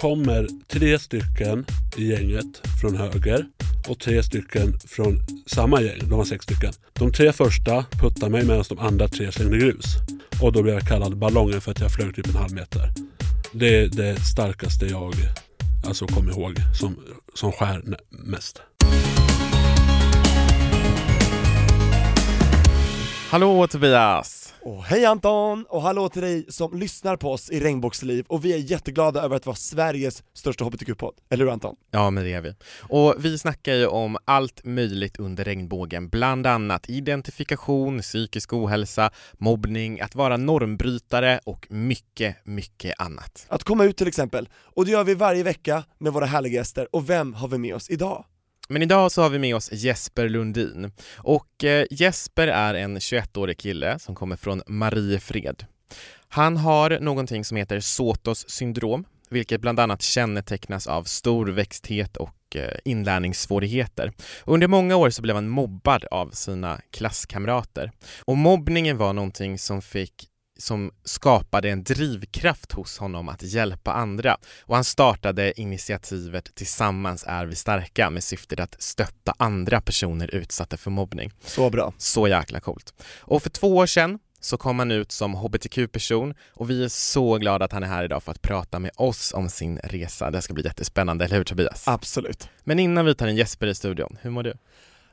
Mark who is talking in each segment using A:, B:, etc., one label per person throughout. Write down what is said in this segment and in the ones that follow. A: kommer tre stycken i gänget från höger och tre stycken från samma gäng. De var sex stycken. De tre första puttade mig medan de andra tre slängde grus. Och då blev jag kallad ballongen för att jag flög typ en halv meter. Det är det starkaste jag alltså kom ihåg som, som skär nä- mest.
B: Hallå Tobias!
C: Och hej Anton! Och hallå till dig som lyssnar på oss i Regnbågsliv och vi är jätteglada över att vara Sveriges största hbtq-podd, eller hur Anton?
B: Ja men det är vi. Och vi snackar ju om allt möjligt under regnbågen, bland annat identifikation, psykisk ohälsa, mobbning, att vara normbrytare och mycket, mycket annat.
C: Att komma ut till exempel, och det gör vi varje vecka med våra härliga gäster, och vem har vi med oss idag?
B: Men idag så har vi med oss Jesper Lundin och eh, Jesper är en 21-årig kille som kommer från Mariefred. Han har någonting som heter Sotos syndrom, vilket bland annat kännetecknas av stor växthet och eh, inlärningssvårigheter. Under många år så blev han mobbad av sina klasskamrater och mobbningen var någonting som fick som skapade en drivkraft hos honom att hjälpa andra och han startade initiativet Tillsammans är vi starka med syftet att stötta andra personer utsatta för mobbning.
C: Så bra.
B: Så jäkla coolt. Och för två år sedan så kom han ut som hbtq-person och vi är så glada att han är här idag för att prata med oss om sin resa. Det ska bli jättespännande, eller hur Tobias?
C: Absolut.
B: Men innan vi tar in Jesper i studion, hur mår du?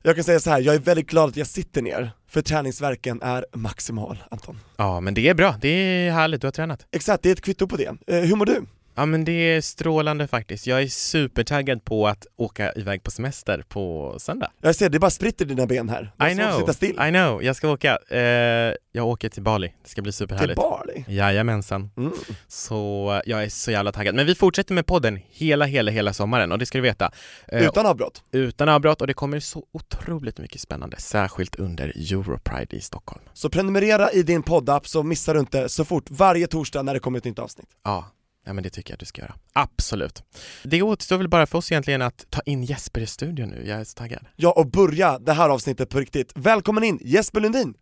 C: Jag kan säga så här, jag är väldigt glad att jag sitter ner, för träningsverken är maximal, Anton.
B: Ja, men det är bra. Det är härligt. Du har tränat.
C: Exakt, det är ett kvitto på det. Eh, hur mår du?
B: Ja, men det är strålande faktiskt. Jag är supertaggad på att åka iväg på semester på söndag.
C: Jag ser, det bara spritter i dina ben här. Det är
B: I
C: svårt att
B: know.
C: sitta still.
B: I know. Jag ska åka. Eh, jag åker till Bali. Det ska bli
C: Till
B: superhärligt.
C: Bali.
B: Jajamensan.
C: Mm.
B: Så eh, jag är så jävla taggad. Men vi fortsätter med podden hela, hela, hela sommaren och det ska du veta. Eh,
C: Utan avbrott.
B: utan avbrott och det kommer så otroligt mycket spännande, särskilt under Europride i Stockholm.
C: Så prenumerera i din poddapp så missar du inte så fort varje torsdag när det kommer ett nytt avsnitt.
B: Ja, ja men det tycker jag du ska göra. Absolut. Det återstår väl bara för oss egentligen att ta in Jesper i studion nu. Jag är så taggad.
C: Ja, och börja det här avsnittet på riktigt. Välkommen in Jesper Lundin!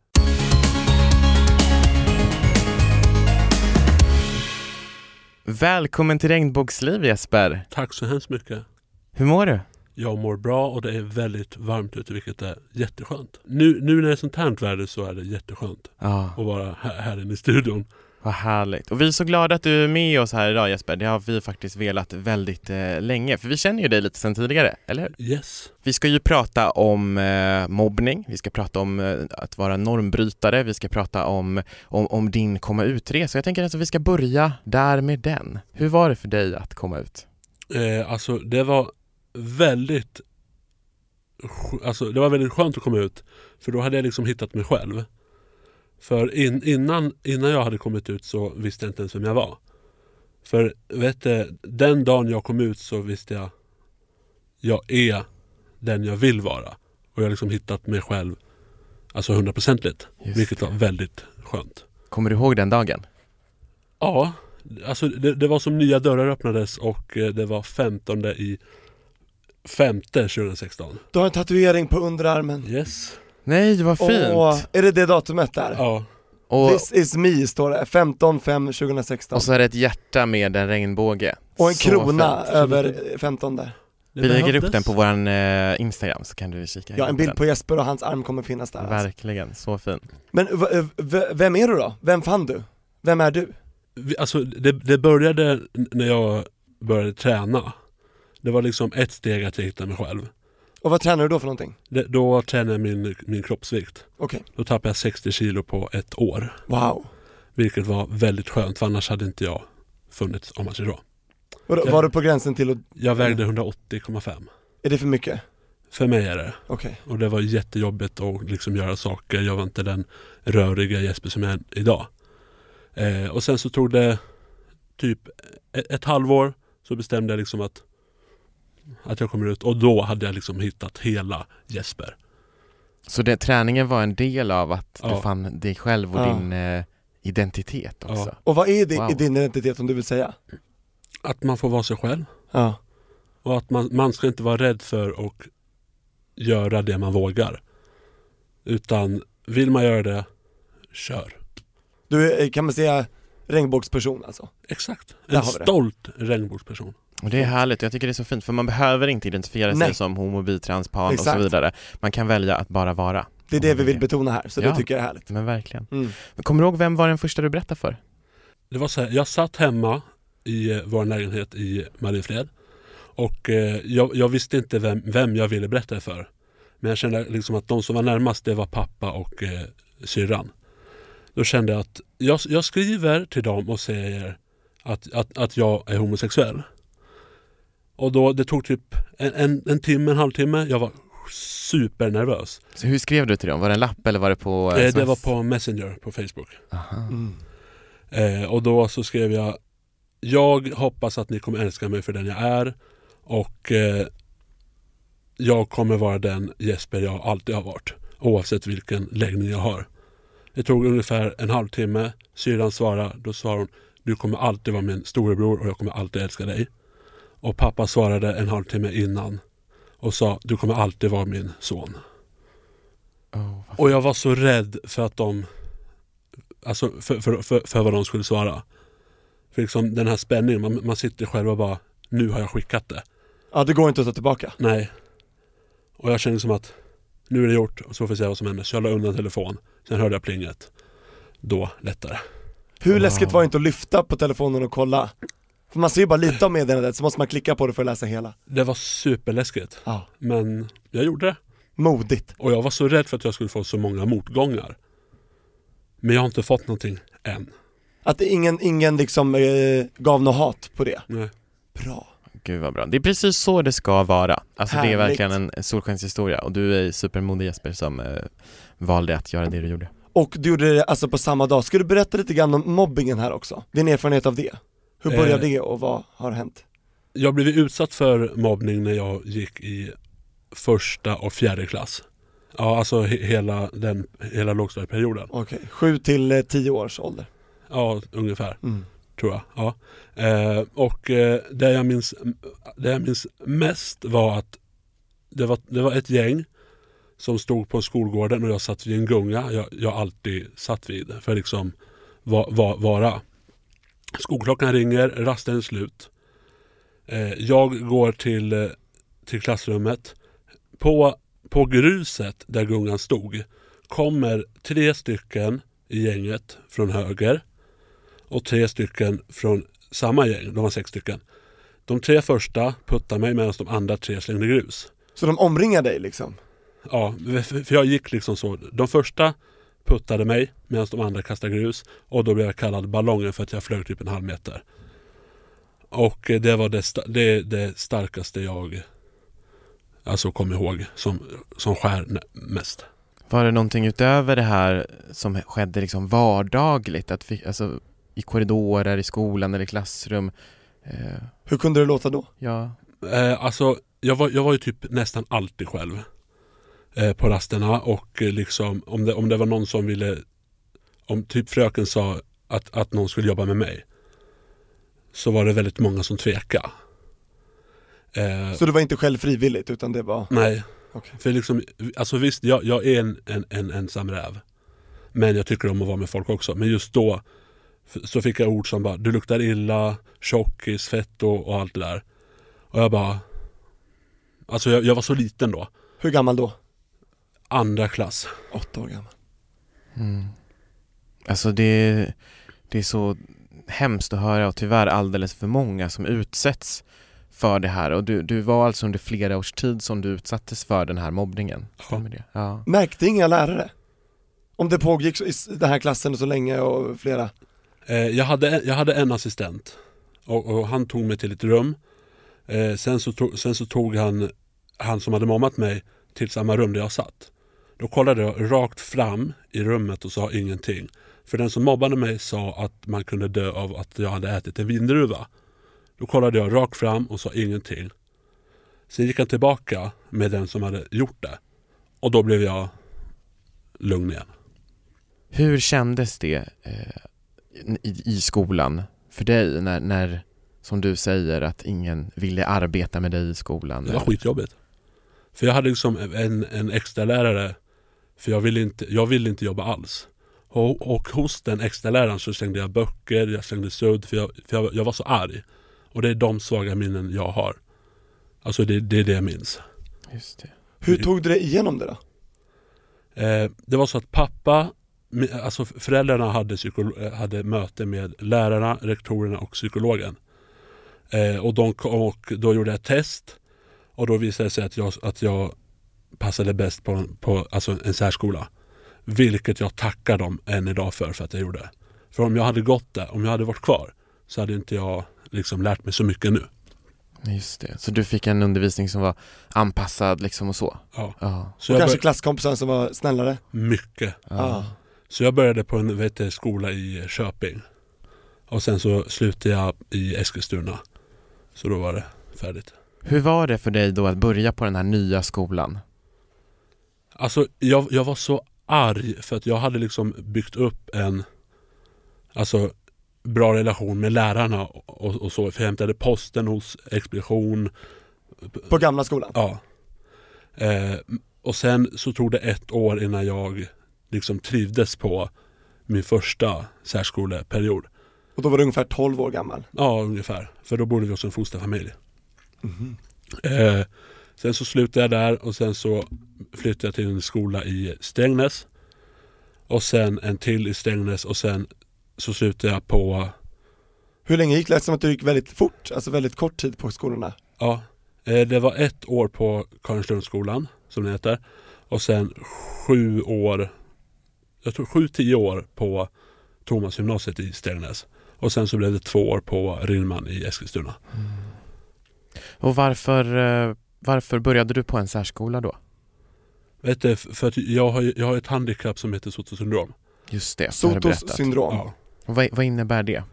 B: Välkommen till Regnbågsliv Jesper.
A: Tack så hemskt mycket.
B: Hur mår du?
A: Jag mår bra och det är väldigt varmt ute vilket är jätteskönt. Nu, nu när det är sånt här väder så är det jätteskönt
B: Ja,
A: att vara här, här inne i studion.
B: vad härligt. Och vi är så glada att du är med oss här idag Jesper. Det har vi faktiskt velat väldigt eh, länge, för vi känner ju dig lite sedan tidigare, eller hur?
A: Yes.
B: Vi ska ju prata om eh, mobbning, vi ska prata om eh, att vara normbrytare, vi ska prata om, om, om din komma ut-resa. Jag tänker att vi ska börja där med den. Hur var det för dig att komma ut?
A: Eh, alltså det var väldigt sk- Alltså det var väldigt skönt att komma ut. För då hade jag liksom hittat mig själv. För in, innan, innan jag hade kommit ut så visste jag inte ens vem jag var. För vet du, den dagen jag kom ut så visste jag jag är den jag vill vara. Och jag har liksom hittat mig själv alltså hundraprocentigt.
B: Just
A: Vilket var väldigt skönt.
B: Kommer du ihåg den dagen?
A: Ja, alltså det, det var som nya dörrar öppnades och eh, det var 15 i femte 2016.
C: Du har en tatuering på underarmen.
A: Yes.
B: Nej, vad fint!
C: Åh, är det det datumet där?
A: Ja,
B: och,
C: This is me står det, 15 5 2016.
B: och så är det ett hjärta med en regnbåge.
C: Och en
B: Så
C: krona
B: fint.
C: över eh, 15 där.
A: det
B: Vi lägger
A: behövdes.
B: upp den på våran eh, Instagram så kan du kika
C: Ja, en
B: in
C: bild
B: den.
C: på Jesper och hans arm kommer finnas där. Alltså.
B: Verkligen, så fin.
C: Men v- v- vem är du då? Vem fann du? Vem är du?
A: Vi- Alltså det, det började n- när jag började träna. Det var liksom ett steg att jag hittade mig själv.
C: Och vad tränar du då för någonting?
A: Det, då tränade jag min, min kroppsvikt.
C: Okej,
A: Då tappade jag 60 kilo på ett år.
C: wow.
A: Vilket var väldigt skönt för annars hade inte jag funnits om man säger så.
C: Var,
A: Ja.
C: var du på gränsen till att,
A: Jag
B: Mm.
A: vägde 180,5.
C: är det för mycket?
A: För mig är det.
C: Okej.
A: Och det var jättejobbigt att liksom göra saker. Jag var inte den röriga Jesper som jag är idag. Eh, och sen så e-, tog det typ ett, ett halvår så bestämde jag liksom att Att jag kommer ut och då hade jag liksom hittat hela Jesper.
B: Så det, träningen var en del av att
A: Ja.
B: du fann dig själv och
C: Ja.
B: din eh, identitet också?
C: Och vad är det
B: Wow.
C: i din identitet om du vill säga?
A: Att man får vara sig själv
C: Ja.
A: och att man, man ska inte vara rädd för att göra det man vågar. Utan vill man göra det, kör.
C: Du är, eh, kan man säga, regnbågsperson alltså?
A: Exakt.
C: Där
A: En
C: har vi det.
A: stolt regnbågsperson.
B: Och det är härligt, jag tycker det är så fint för man behöver inte identifiera
C: Nej.
B: sig som homo, bi, trans, pan och så
C: Exakt.
B: vidare. Man kan välja att bara vara.
C: Det är det vi vill betona här, så det
B: Ja.
C: tycker jag är härligt.
B: Men verkligen.
C: Mm.
B: Men kommer du ihåg vem var den första du berättade för?
A: Det var så här, jag satt hemma i eh, vår lägenhet i Mariefred och eh, jag, jag visste inte vem, vem jag ville berätta det för. Men jag kände liksom att de som var närmast det var pappa och eh, syrran. Då kände jag att jag, jag skriver till dem och säger att, att, att jag är homosexuell. Och då, det tog typ en, en, en timme, en halvtimme. Jag var supernervös.
B: Så hur skrev du till dem? Var det en lapp eller var det på eh,
A: Eh, Det
B: sms?
A: var på Messenger på Facebook.
B: Aha.
C: Mm.
A: Eh, och då så skrev jag Jag hoppas att ni kommer älska mig för den jag är och eh, jag kommer vara den Jesper jag alltid har varit oavsett vilken läggning jag har. Det tog ungefär en halvtimme. Syrran svarade. Då svarade hon Du kommer alltid vara min storebror och jag kommer alltid älska dig. Och pappa svarade en halvtimme innan och sa Du kommer alltid vara min son.
B: Oh, vad-
A: Och jag var så rädd för att de Alltså för, för, för, för vad de skulle svara. För liksom den här spänningen, man, man sitter själv och bara Nu har jag skickat det.
C: Ja, det går inte att ta tillbaka.
A: Nej. Och jag kände som att Nu är det gjort och så får vi se vad som händer. Så jag la undan telefonen. Sen hörde jag plinget. Då lättare.
C: Hur
B: Wow.
C: läskigt var det inte att lyfta på telefonen och kolla? För man ser ju bara lite av meddelandet, så måste man klicka på det för att läsa hela.
A: Det var superläskigt.
C: Ja.
A: Men jag gjorde det.
C: Modigt.
A: Och jag var så rädd för att jag skulle få så många motgångar. Men jag har inte fått någonting än.
C: Att det ingen, ingen liksom eh, gav något hat på det.
A: Nej.
C: Bra.
B: Gud vad bra. Det är precis så det ska vara. Alltså det är
C: Härligt.
B: verkligen en solskenshistoria och du är supermodig Jesper som eh, valde att göra det du gjorde.
C: Och du gjorde det alltså på samma dag. Ska du berätta lite grann om mobbingen här också? Din erfarenhet av det? Hur började
A: Eh.
C: det och vad har hänt?
A: Jag blev utsatt för mobbning när jag gick i första och fjärde klass. Ja, alltså he- hela, den, hela lågstadieperioden.
C: Okej, sju till eh, tio års ålder.
A: Ja, ungefär
C: Mm.
A: tror jag. Ja. Eh, och eh, det, jag minns, det jag minns mest var att det var, det var ett gäng som stod på skolgården och jag satt vid en gunga jag, jag alltid satt vid för liksom va, va, vara. Skolklockan ringer, rasten är slut. Eh, jag går till, eh, till klassrummet. På, på gruset där gungan stod kommer tre stycken i gänget från höger och tre stycken från samma gäng, de var sex stycken. De tre första puttade mig medan de andra tre slängde grus.
C: Så de omringar dig liksom?
A: Ja, för för jag gick liksom så. De första puttade mig medan de andra kastade grus och då blev jag kallad ballongen för att jag flög typ en halv meter. Och eh, det var det, sta- det, det starkaste jag alltså kom ihåg som, som skär nä- mest.
B: Var det någonting utöver det här som skedde liksom vardagligt? Att vi, alltså, I korridorer, i skolan eller i klassrum? Eh,
C: Hur kunde det låta då?
B: ja,
A: Eh, alltså, jag var, jag var ju typ nästan alltid själv eh, på rasterna och eh, liksom om det, om det var någon som ville, om typ fröken sa att, att någon skulle jobba med mig så var det väldigt många som tvekade. Eh,
C: Så du var inte själv frivilligt utan det var,
A: Nej,
C: okej.
A: för liksom, alltså visst jag, jag är en, en, en ensam räv men jag tycker om att vara med folk också. Men just då f- så fick jag ord som bara du luktar illa, tjockis, fetto och allt det där. Och jag bara Alltså jag, jag var så liten då.
C: Hur gammal då?
A: Andra klass.
C: Åtta år gammal.
B: Mm. Alltså det, det är så hemskt att höra och tyvärr alldeles för många som utsätts för det här och du, du var alltså under flera års tid som du utsattes för den här mobbningen? Stämmer det? Ja.
C: Märkte inga lärare? Om det pågick så- i s- den här klassen så länge och flera?
A: Eh, jag, hade, en- jag hade en assistent och, och han tog mig till ett rum. Eh, sen, så tog, sen så tog han, han som hade mobbat mig till samma rum där jag satt. Då kollade jag rakt fram i rummet och sa ingenting. För den som mobbade mig sa att man kunde dö av att jag hade ätit en vindruva. Då kollade jag rakt fram och sa ingenting. Sen gick han tillbaka med den som hade gjort det. Och då blev jag lugn igen.
B: Hur kändes det eh, i, i skolan för dig när, när, som du säger, att ingen ville arbeta med dig i skolan?
A: Det var skitjobbigt. För jag hade liksom en, en extra lärare för jag ville inte, jag ville inte jobba alls. Och, och hos den extra läraren så slängde jag böcker, jag slängde sudd för, jag, för jag, jag var så arg. Och det är de svaga minnen jag har. Alltså det, det är det jag minns.
B: Just det.
C: Hur tog du dig igenom det då?
A: Eh, det var så att pappa, mi- alltså föräldrarna hade, psykolo- eh, hade möte med lärarna, rektorerna och psykologen. Eh, och, de kom och då gjorde jag ett test och då visade det sig att jag, att jag passade bäst på, på alltså en särskola. Vilket jag tackar dem än idag för, för att jag gjorde. För om jag hade gått där, om jag hade varit kvar så hade inte jag liksom lärt mig så mycket nu.
B: Just det. Så du fick en undervisning som var anpassad liksom och så?
A: Ja.
B: Ja.
A: Så
C: Och
A: jag
C: kanske
A: bör-
C: klasskompisen som var snällare?
A: mycket.
C: Ja.
A: Så jag började på en vet du, skola i Köping. Och sen så slutade jag i Eskilstuna. Så då var det färdigt.
B: Hur var det för dig då att börja på den här nya skolan?
A: Alltså jag, jag var så arg för att jag hade liksom byggt upp en alltså, bra relation med lärarna och, och så. För jag hämtade posten hos expedition.
C: På gamla skolan?
A: Ja. Eh, och sen så tog det ett år innan jag liksom trivdes på min första särskoleperiod.
C: Och då var du ungefär 12 år gammal?
A: Ja, ungefär. För då bodde vi hos en fosterfamilj. Eh, sen så slutade jag där och sen så flyttade jag till en skola i Strängnäs. Och sen en till i Strängnäs och sen så slutade jag på,
C: Hur länge gick det? Det lät som att du gick väldigt fort, alltså väldigt kort tid på skolorna.
A: ja, eh, det var ett år på Karinlundsskolan som det heter. Och sen sju år, jag tror sju, tio år på Thomas gymnasiet i Strängnäs. Och sen så blev det två år på Rinman i Eskilstuna.
B: Och varför, eh, varför började du på en särskola då?
A: Vet du, för att jag har, ju- jag har ett handikapp som heter Sotos syndrom.
B: Just det, det har du
C: Sotos
B: berättat.
C: syndrom.
A: Ja.
B: Och vad, vad innebär det?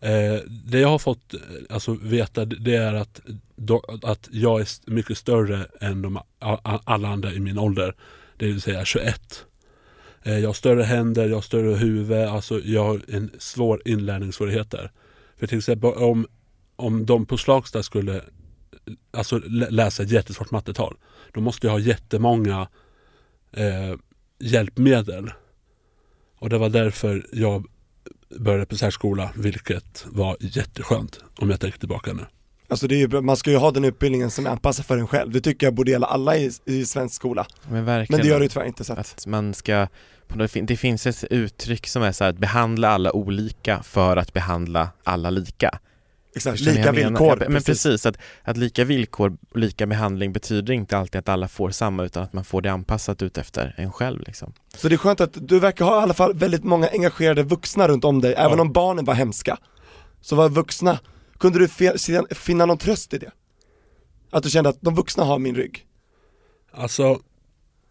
A: Eh, det jag har fått eh, alltså, veta det det är att, då, att jag är st- mycket större än de, a- a- alla andra i min ålder. Det vill säga 21. Eh, jag har större händer, jag har större huvud, alltså jag har en svår inlärningssvårigheter. För till exempel om, om de på Slagsta skulle eh, alltså, lä- läsa ett jättesvårt mattetal. Då måste jag ha jättemånga eh, hjälpmedel. Och det var därför jag började på särskola, vilket var jätteskönt om jag tänker tillbaka nu.
C: Alltså det är ju, bra. man ska ju ha den utbildningen som är anpassad för en själv. Det tycker jag borde gälla alla i, i svensk skola.
B: Men
C: Men
B: verkligen.
C: det gör det ju tyvärr inte så att,
B: Att man ska, det fin- det finns ett uttryck som är så här att behandla alla olika för att behandla alla lika.
C: exakt,
B: Förstår ni vad
C: lika
B: jag menar?
C: villkor.
B: Ja, men precis, att, att lika villkor och lika behandling betyder inte alltid att alla får samma utan att man får det anpassat ut efter en själv liksom.
C: Så det är skönt att du verkar ha i alla fall väldigt många engagerade vuxna runt om dig, även om barnen var hemska. Så var vuxna, kunde du fe- sedan finna någon tröst i det? Att du kände att de vuxna har min rygg?
A: Alltså,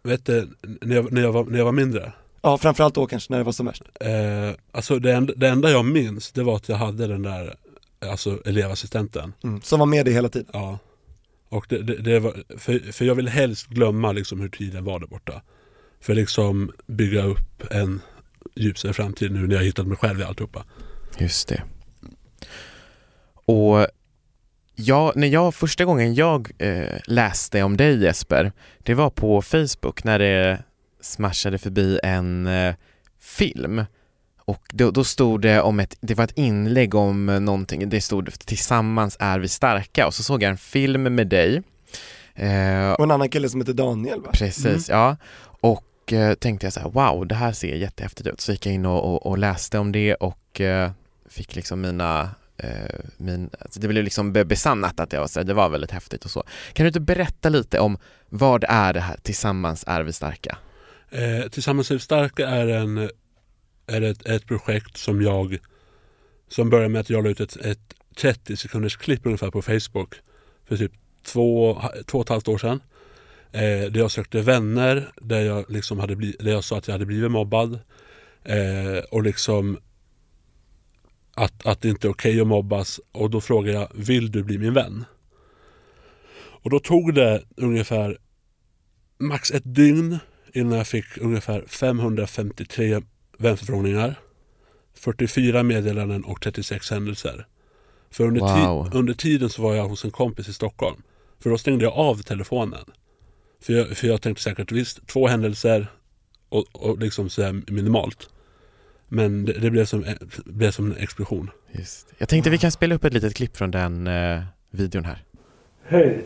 A: vet du, när jag, när jag, var, när jag var mindre.
C: Ja, framförallt då kanske när det var som värst.
A: Eh, alltså det, enda, det enda jag minns det var att jag hade den där alltså, elevassistenten.
B: Mm.
C: Som var med dig hela tiden.
A: Ja. Och det, det, det var, för, för jag vill helst glömma liksom hur tiden var där borta. För liksom bygga upp en ljusare framtid nu när jag hittat mig själv i alltihopa.
B: Just det. Och jag, när jag, första gången jag eh, läste om dig Jesper, det var på Facebook när det smashade förbi en eh, film. Och då, då stod det om ett, det var ett inlägg om eh, någonting, det stod tillsammans är vi starka och så såg jag en film med dig. Eh,
C: Och en annan kille som heter Daniel va?
B: Precis, ja. Och eh, tänkte jag så här, wow, det här ser jättehäftigt ut. Så gick jag in och, och, och läste om det och eh, fick liksom mina, eh, min, alltså det blev liksom be- besannat att jag var så här, det var väldigt häftigt och så. Kan du inte berätta lite om vad är det här Tillsammans är vi starka?
A: Eh, Tillsammans är vi starka är, en, är ett, ett projekt som jag som började med att jag la ut ett, ett 30 sekunders klipp ungefär på Facebook för typ två, två och ett halvt år sedan. Eh, där jag sökte vänner, där jag, liksom hade bli, där jag sa att jag hade blivit mobbad. Eh, och liksom att, att det inte är okej att mobbas. Och då frågade jag, vill du bli min vän? Och då tog det ungefär max ett dygn innan jag fick ungefär 553 vänförfrågningar, 44 meddelanden och 36 händelser. För under, ti-
B: Wow.
A: under tiden så var jag hos en kompis i Stockholm. För då stängde jag av telefonen. För jag, för jag tänkte säkert visst, två händelser och, och liksom så här minimalt. Men det, det blev, som, blev som en explosion.
B: Just. Ah. Jag tänkte vi kan spela upp ett litet klipp från den eh, videon här.
D: Hej!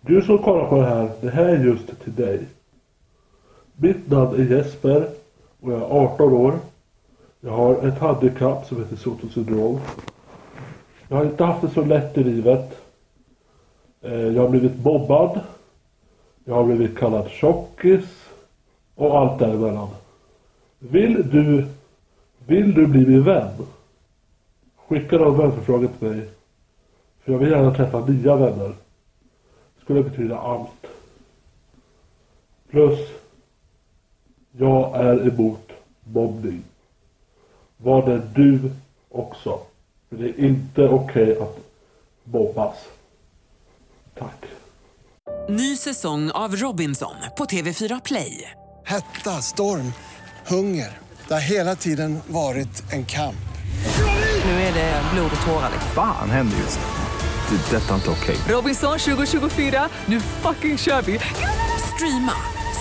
D: Du som kollar på det här, det här är just till dig. Mitt namn är Jesper och jag är 18 år. Jag har ett handikapp som heter Sotos syndrom. Jag har inte haft det så lätt i livet. Eh, Jag har blivit mobbad. Jag har blivit kallad tjockis. Och allt däremellan. Vill du, vill du bli min vän? Skicka då en vänförfrågan till mig för jag vill gärna träffa nya vänner. Det skulle betyda allt. Plus, jag är emot mobbning. Var det du också. För det är inte okej att mobbas. Tack.
E: Ny säsong av Robinson på TV4 Play.
F: Hetta, storm, hunger. Det har hela tiden varit en kamp.
E: Nu är det blod och tårar. liksom.
G: Fan händer just det. Det är detta inte okej.
E: Robinson 2024, nu fucking kör vi! Streama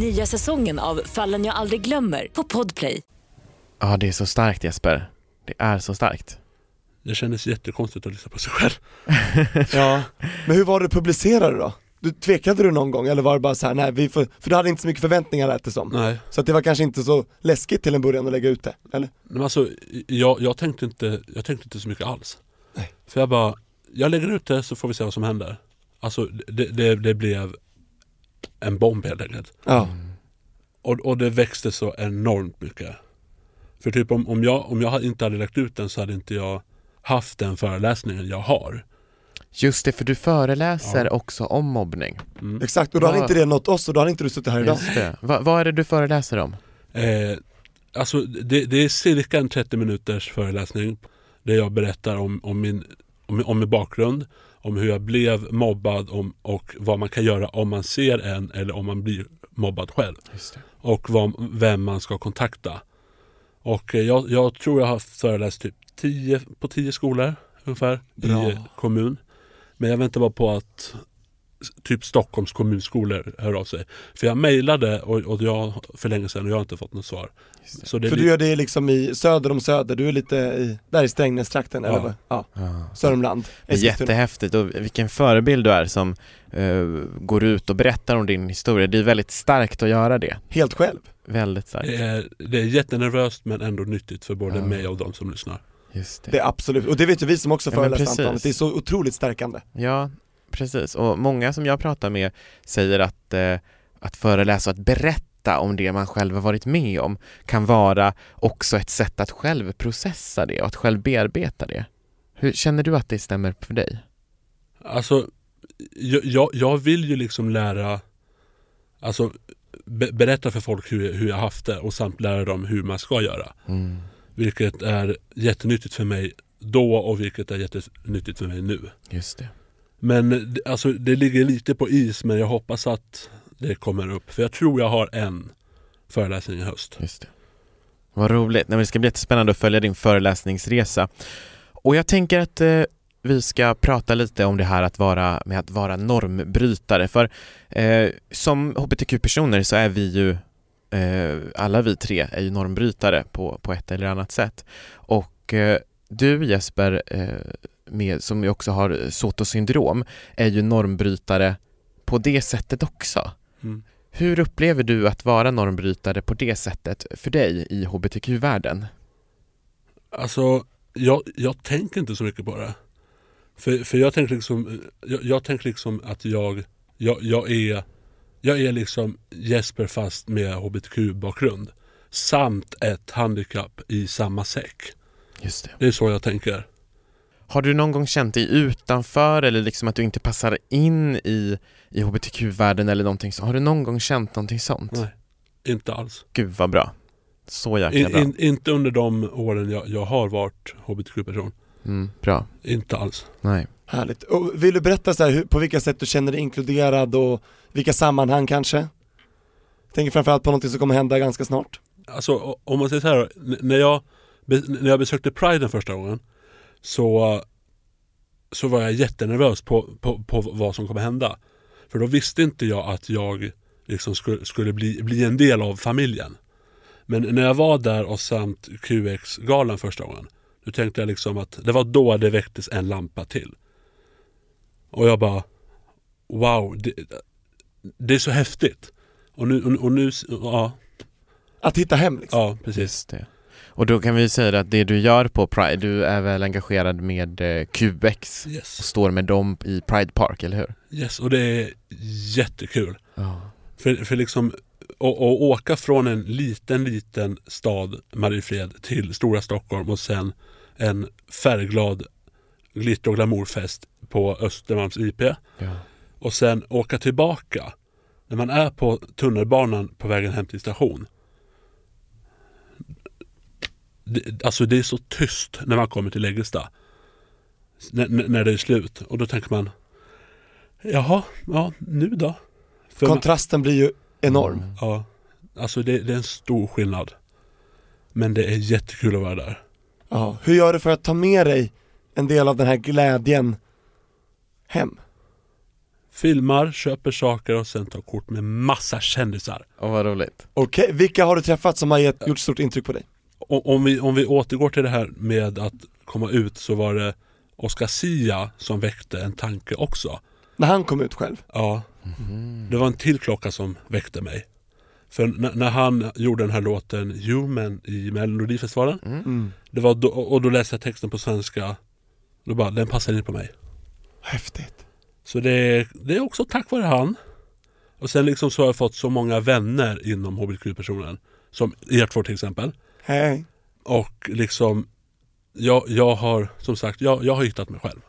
H: Nya säsongen av Fallen jag aldrig glömmer på Podplay.
B: Ja, det är så starkt Jesper. Det är så starkt.
A: Det kändes jättekonstigt att lyssna på sig själv.
C: Ja. Men hur var det du publicerade då? Du, tvekade du någon gång eller var det bara så här, nej vi får, för du hade inte så mycket förväntningar lät det som.
A: Nej,
C: Så att det var kanske inte så läskigt till en början att lägga ut det, eller?
A: men alltså jag, jag, tänkte inte, jag tänkte inte så mycket alls.
C: Nej.
A: För jag bara, jag lägger ut det så får vi se vad som händer. Alltså det, det, det blev en bomb helt enkelt.
C: Ja.
A: Och, och det växte så enormt mycket. För typ om, om, jag, om jag inte hade lagt ut den så hade inte jag haft den föreläsningen jag har.
B: Just det, för du föreläser också om mobbning.
C: Exakt, och då hade
B: Ja.
C: inte det nått oss och då hade inte du suttit här idag.
B: Just det. Va, vad är det du föreläser om?
A: Eh, alltså det, det är cirka en 30 minuters föreläsning där jag berättar om, om, min, om, om min bakgrund, om hur jag blev mobbad om, och vad man kan göra om man ser en eller om man blir mobbad själv.
B: Just det.
A: Och vad, vem man ska kontakta. Och eh, jag, jag tror jag har föreläst typ 10, på 10 skolor ungefär i eh, kommun. Men jag väntar bara på att s- typ Stockholms kommunskolor hör av sig. För jag mejlade och, och jag, för länge sedan och jag har inte fått något svar. Så det är
C: För
A: li-
C: du gör det liksom i söder om söder, du är lite i, där i Strängnästrakten eller
A: Ja.
C: vad? Ja. Sörmland, Eskilstuna.
B: Jättehäftigt och vilken förebild du är som eh, går ut och berättar om din historia. Det är väldigt starkt att göra det.
C: Helt själv.
B: Väldigt starkt.
A: det, är, det är jättenervöst men ändå nyttigt för både
B: Ja.
A: mig och de som lyssnar.
B: Just det.
C: Det är absolut, och det vet ju vi som också
B: Ja, men
C: föreläst
B: precis.
C: Anton, att det är så otroligt stärkande.
B: Ja, precis. Och många som jag pratar med säger att, eh, att föreläsa och att berätta om det man själv har varit med om kan vara också ett sätt att själv processa det och att själv bearbeta det. Hur känner du att det stämmer för dig?
A: Alltså, jag, jag, jag vill ju liksom lära, alltså be, berätta för folk hur, jag- hur jag haft det och samt lära dem hur man ska göra.
B: Mm,
A: Vilket är jättenyttigt för mig då och vilket är jättenyttigt för mig nu.
B: Just det.
A: Men eh, det- alltså, det ligger lite på is men jag hoppas att det kommer upp. För jag tror jag har en föreläsning i höst.
B: Just det. Vad roligt. Nej, men det ska bli jättespännande att följa din föreläsningsresa. Och jag tänker att eh, vi ska prata lite om det här att vara, med att vara normbrytare. För eh, som hbtq-personer så är vi ju, eh, alla vi tre är ju normbrytare på, på ett eller annat sätt. Och eh, du Jesper, eh, med, som ju också har Sotos syndrom, är ju normbrytare på det sättet också.
A: Mm.
B: Hur upplever du att vara normbrytare på det sättet för dig i hbtq-världen?
A: Alltså, jag, jag tänker inte så mycket på det. För, för jag tänker liksom, jag, jag tänker liksom att jag, jag, jag, är, jag är liksom Jesper fast med hbtq-bakgrund. Samt ett handikapp i samma säck.
B: Just det.
A: det är så jag tänker.
B: Har du någon gång känt dig utanför eller liksom att du inte passar in i, i hbtq-världen eller någonting så? Har du någon gång känt någonting sånt?
A: Nej, inte alls.
B: Mm. Gud vad bra. Så jäkla
A: In,
B: bra.
A: in, inte under de åren jag, jag har varit hbtq-person.
B: Mm, bra.
A: Inte alls.
B: Nej.
C: Härligt. Och vill du berätta så här, hur, på vilka sätt du känner dig inkluderad och vilka sammanhang kanske? Tänker framförallt på någonting som kommer hända ganska snart.
A: Alltså o- om man säger så här, n- när jag, be- när jag besökte Pride den första gången så, så var jag jättenervös på, på, på vad som kommer hända. För då visste inte jag att jag liksom skulle, skulle bli, bli en del av familjen. Men när jag var där och samt QX-galan första gången, då tänkte jag liksom att det var då det väcktes en lampa till. Och jag bara, wow, det, det är så häftigt. Och nu, och, och nu ja,
C: Att hitta hem liksom.
A: ja, precis.
B: Just det. Och då kan vi säga att det du gör på Pride, du är väl engagerad med eh, QX och
A: Yes.
B: står med dem i Pride Park, eller hur?
A: yes, och det är jättekul.
B: Ja.
A: För, för liksom att åka från en liten, liten stad, Mariefred, till stora Stockholm och sen en färgglad glitter och glamourfest på Östermalms IP.
B: Ja.
A: Och sen åka tillbaka. När man är på tunnelbanan på vägen hem till station. Det, alltså det är så tyst när man kommer till Läggesta. N- n- när det är slut. Och då tänker man, jaha, ja, nu då? För man-
C: Kontrasten blir ju enorm.
A: Ja, alltså det, det är en stor skillnad. Men det är jättekul att vara där.
C: Ja. Hur gör du för att ta med dig en del av den här glädjen hem?
A: Filmar, köper saker och sen tar kort med massa kändisar.
B: Och vad roligt.
C: Okej, vilka har du träffat som har gett, gjort stort intryck på dig?
A: O- Om vi, om vi återgår till det här med att komma ut så var det Oscar Sia som väckte en tanke också.
C: När han kom ut själv?
A: Ja, det var en till klocka som väckte mig. För n- när han gjorde den här låten Human i Melodifestivalen, det var då, och då läste jag texten på svenska, då bara, den passar in på mig.
C: Häftigt.
A: Så det, det är också tack vare han. Och sen liksom så har jag fått så många vänner inom hbtq-personen. Som er två till exempel.
C: Hej.
A: Och liksom jag, jag har som sagt, jag, jag har hittat mig själv.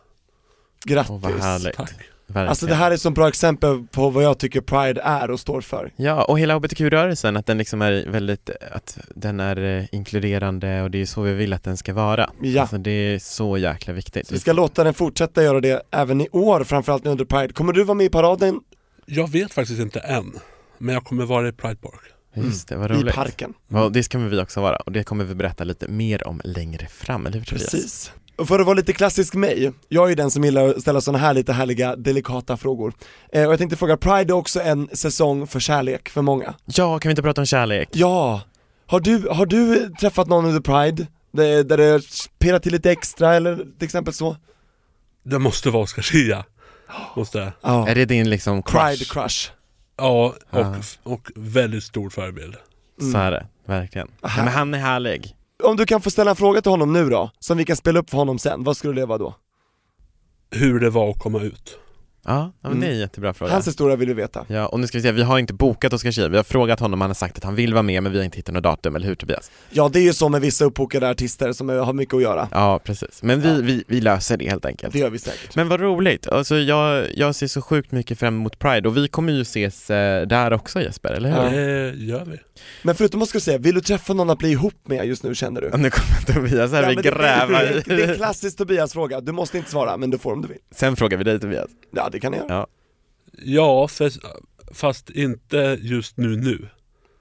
C: Grattis.
B: Och vad härligt.
A: Tack.
B: Verkligen.
C: Alltså det här är ett så bra exempel på vad jag tycker Pride är och står för.
B: Ja, och hela hbtq-rörelsen, att den liksom är väldigt, att den är eh, inkluderande och det är så vi vill att den ska vara.
C: Ja.
B: Alltså det är så jäkla viktigt.
C: Vi ska låta den fortsätta göra det även i år, framförallt nu under Pride. Kommer du vara med i paraden
A: Jag vet faktiskt inte än. Men jag kommer vara i Pride Park.
B: Mm. Just det, vad
C: mm, i
B: roligt.
C: parken?
B: Ja, det kommer vi också vara och det kommer vi berätta lite mer om längre fram, eller hur Tobias?
C: Precis. Och för att vara lite klassisk mig, jag är ju den som gillar att ställa sådana här lite härliga, delikata frågor. Eh, och jag tänkte fråga, Pride är också en säsong för kärlek för många.
B: Ja, kan vi inte prata om kärlek?
C: Ja, har du, har du träffat någon under Pride? Där, där det pirrar till lite extra eller till exempel så?
A: Det måste vara Oscar Sia. Måste jag.
C: Ja.
B: Är det din liksom crush?
C: Pride crush.
A: Ja,
B: Ah.
A: och, och väldigt stor förebild.
C: Mm.
B: Så är det, verkligen. Ja, men han är härlig.
C: Om du kan få ställa en fråga till honom nu då, som vi kan spela upp för honom sen, vad skulle det vara då?
A: Hur det var att komma ut.
B: Ja, ja men det är en
C: Mm.
B: jättebra fråga.
C: Hans historia vill vi veta.
B: Ja, och nu ska vi se, vi har inte bokat Oskar Schie, vi har frågat honom, han har sagt att han vill vara med men vi har inte hittat något datum, eller hur Tobias?
C: Ja, det är ju så med vissa uppbokade artister som har mycket att göra.
B: Ja, precis. Men vi, vi, vi löser det helt enkelt.
C: Det gör vi säkert.
B: Men vad roligt, alltså jag, jag ser så sjukt mycket fram emot Pride och vi kommer ju ses eh, där också Jesper, eller hur?
A: Det gör vi.
C: Men förutom att ska säga, vill du träffa någon att bli ihop med just nu känner du?
B: Och Nu kommer Tobias här,
C: Ja,
B: vi
C: men det-
B: grävar
C: det, det, det är en
B: i.
C: klassisk Tobias-fråga, du måste inte svara men du får om du vill.
B: Sen frågar vi dig Tobias.
C: Ja det kan jag göra.
B: Ja.
A: Ja, för, fast inte just nu nu.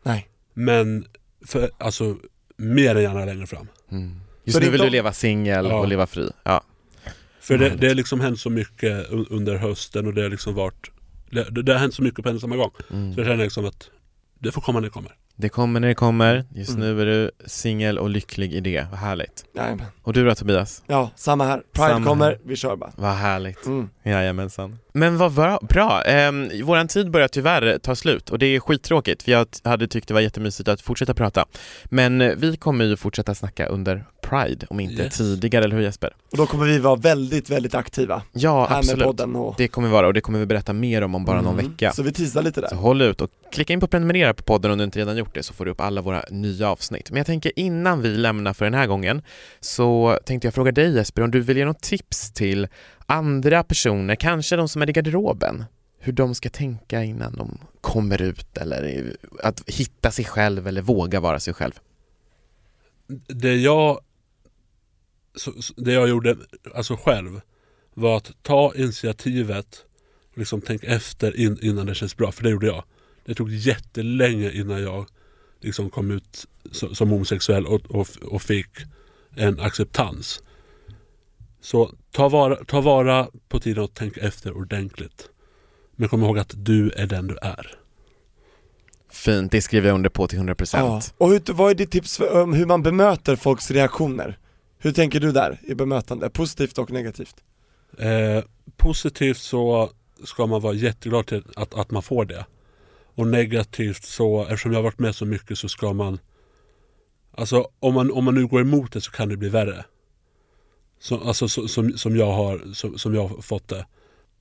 C: Nej.
A: Men för, alltså mer än gärna längre fram.
B: Mm. Just
C: det är
B: nu vill
C: inte-
B: du leva singel
A: Ja.
B: och leva fri. Ja.
A: För det, det har liksom hänt så mycket un- under hösten och det har liksom varit Det, det, det har hänt så mycket på en och samma gång. Så jag känner liksom att det får komma när det kommer.
B: Det kommer när det kommer, just
C: Mm.
B: nu är du singel och lycklig i det, vad härligt.
C: Jajamän.
B: Och du då Tobias?
C: Ja, samma här. Pride
B: Samma
C: kommer,
B: här.
C: vi kör bara.
B: Vad härligt.
C: Mm.
B: Jajamensan. Men vad bra. bra. Ehm, våran tid börjar tyvärr ta slut och det är skittråkigt för jag t- hade tyckt det var jättemysigt att fortsätta prata. Men eh, vi kommer ju fortsätta snacka under Pride, om inte
C: Yes.
B: tidigare, eller hur Jesper?
C: Och då kommer vi vara väldigt, väldigt aktiva.
B: Ja,
C: här
B: absolut.
C: med podden och...
B: Det kommer vi vara och det kommer vi berätta mer om om bara någon
C: Mm.
B: vecka.
C: Så vi teasar lite där.
B: Så håll ut och klicka in på prenumerera på podden om du inte redan gjort det så får du upp alla våra nya avsnitt. Men jag tänker innan vi lämnar för den här gången så tänkte jag fråga dig Jesper om du vill ge något tips till andra personer, kanske de som är i garderoben, hur de ska tänka innan de kommer ut eller att hitta sig själv eller våga vara sig själv.
A: det jag så, så- det jag gjorde alltså själv var att ta initiativet och liksom tänka efter in, innan det känns bra. För det gjorde jag. Det tog jättelänge innan jag liksom kom ut so- som homosexuell och, och, och fick en acceptans. Så ta vara, ta vara på tiden och tänk efter ordentligt. Men kom ihåg att du är den du är.
B: Fint, det skriver jag under på till 100%.
C: Ja. Och hur, vad är ditt tips för, om hur man bemöter folks reaktioner? Hur tänker du där i bemötande? Positivt och negativt?
A: Eh, positivt så ska man vara jätteglad till att, att man får det. Och negativt så, eftersom jag har varit med så mycket så ska man Alltså om man, om man nu går emot det så kan det bli värre. Så, alltså så, som, som jag har som, som jag har fått det.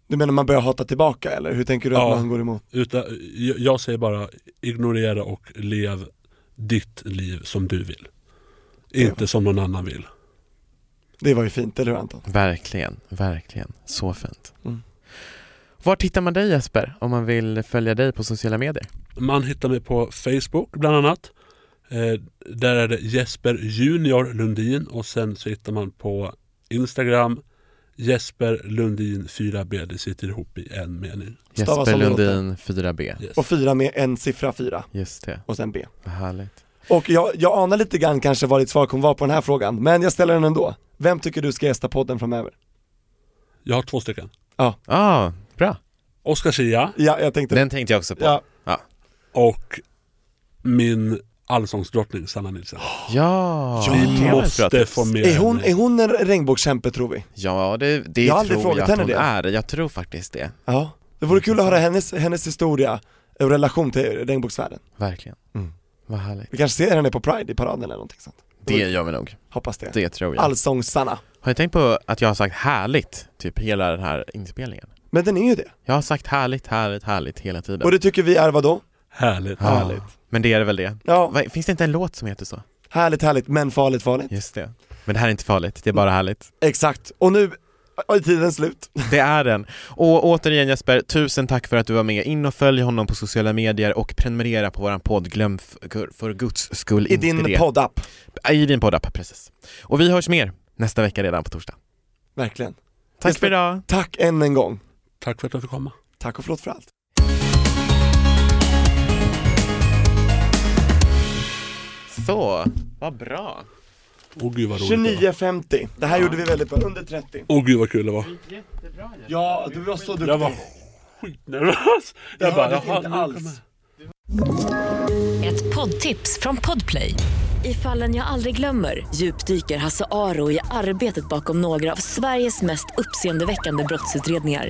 C: Du menar man börjar hata tillbaka eller hur tänker du att man går emot?
A: Utan, jag, jag säger bara ignorera och lev ditt liv som du vill. Inte som någon annan vill.
C: Det var ju fint, eller hur Anton?
B: Verkligen, verkligen. Så fint.
C: Mm.
B: Var tittar man dig Jesper om man vill följa dig på sociala medier?
A: Man hittar mig på Facebook bland annat. Eh, där är det Jesper Junior Lundin och sen så hittar man på Instagram Jesper Lundin 4B. Det sitter ihop i en mening.
C: Stavas
B: Jesper
C: som det låter.
B: Lundin 4B.
C: Och fyra med en siffra fyra
B: Just det,
C: och sen B.
B: vad härligt.
C: Och jag, jag anar lite grann kanske vad ditt svar kommer vara på den här frågan, men jag ställer den ändå. Vem tycker du ska gästa podden framöver?
A: Jag har två stycken.
C: Ja,
B: Ah, bra.
A: Oskar Zia
C: ja jag tänkte,
B: Den tänkte jag också på.
C: ja,
A: och min allsångsdrottning Sanna Nilsson.
B: Ja,
C: Ah. Ja,
B: det
A: Vi
B: var ett bra
A: måste
B: tips.
A: få med
C: är hon,
A: henne.
C: är hon en regnbågskämpe tror vi?
B: Ja, det, det
C: Jag har aldrig
B: tror
C: frågat
B: jag att hon
C: henne det.
B: är. Jag tror faktiskt det.
C: Ja, det vore kul att höra hennes, hennes historia och relation till regnbågsvärlden.
B: Verkligen.
C: Mm.
B: Vad härligt.
C: Vi kanske ser henne på Pride i paraden eller någonting sånt.
B: Det gör vi nog.
C: Hoppas det.
B: Det tror jag.
C: Allsångs-Sanna.
B: Har ni tänkt på att jag har sagt härligt, typ hela den här inspelningen?
C: Men den är ju det.
B: Jag har sagt härligt, härligt, härligt hela tiden.
C: Och det tycker vi är vadå?
A: Härligt.
B: Ja, Men det är det väl det.
C: Ja,
B: Va, Finns det inte en låt som heter så?
C: härligt härligt men farligt farligt.
B: Just det. Men det här är inte farligt, det är
C: Mm.
B: bara härligt.
C: Exakt, och nu är tiden slut.
B: Det är den. Och återigen Jesper, tusen tack för att du var med. In och följ honom på sociala medier och prenumerera på våran podd. Glöm f- för guds skull
C: I
B: inte
C: din
B: det.
C: poddapp.
B: I din poddapp, precis. Och vi hörs mer nästa vecka redan på torsdag.
C: Verkligen.
B: Tack
C: Jesper,
B: för idag!
C: Tack än en gång.
A: Tack för att jag fick komma.
C: Tack och förlåt för allt.
B: Så, vad bra.
A: Åh gud vad roligt det var.
C: 29.50. Det här gjorde vi väldigt bra, under 30.
A: Åh gud vad kul det var.
C: Ja, du var så duktig.
A: Jag var skitnervös. Jag bara,
C: hördes
A: jaha,
C: inte
A: nu
C: alls.
A: kommer-
H: Ett poddtips från Podplay. I fallen jag aldrig glömmer djupdyker Hasse Aro i arbetet bakom några av Sveriges mest uppseendeväckande brottsutredningar.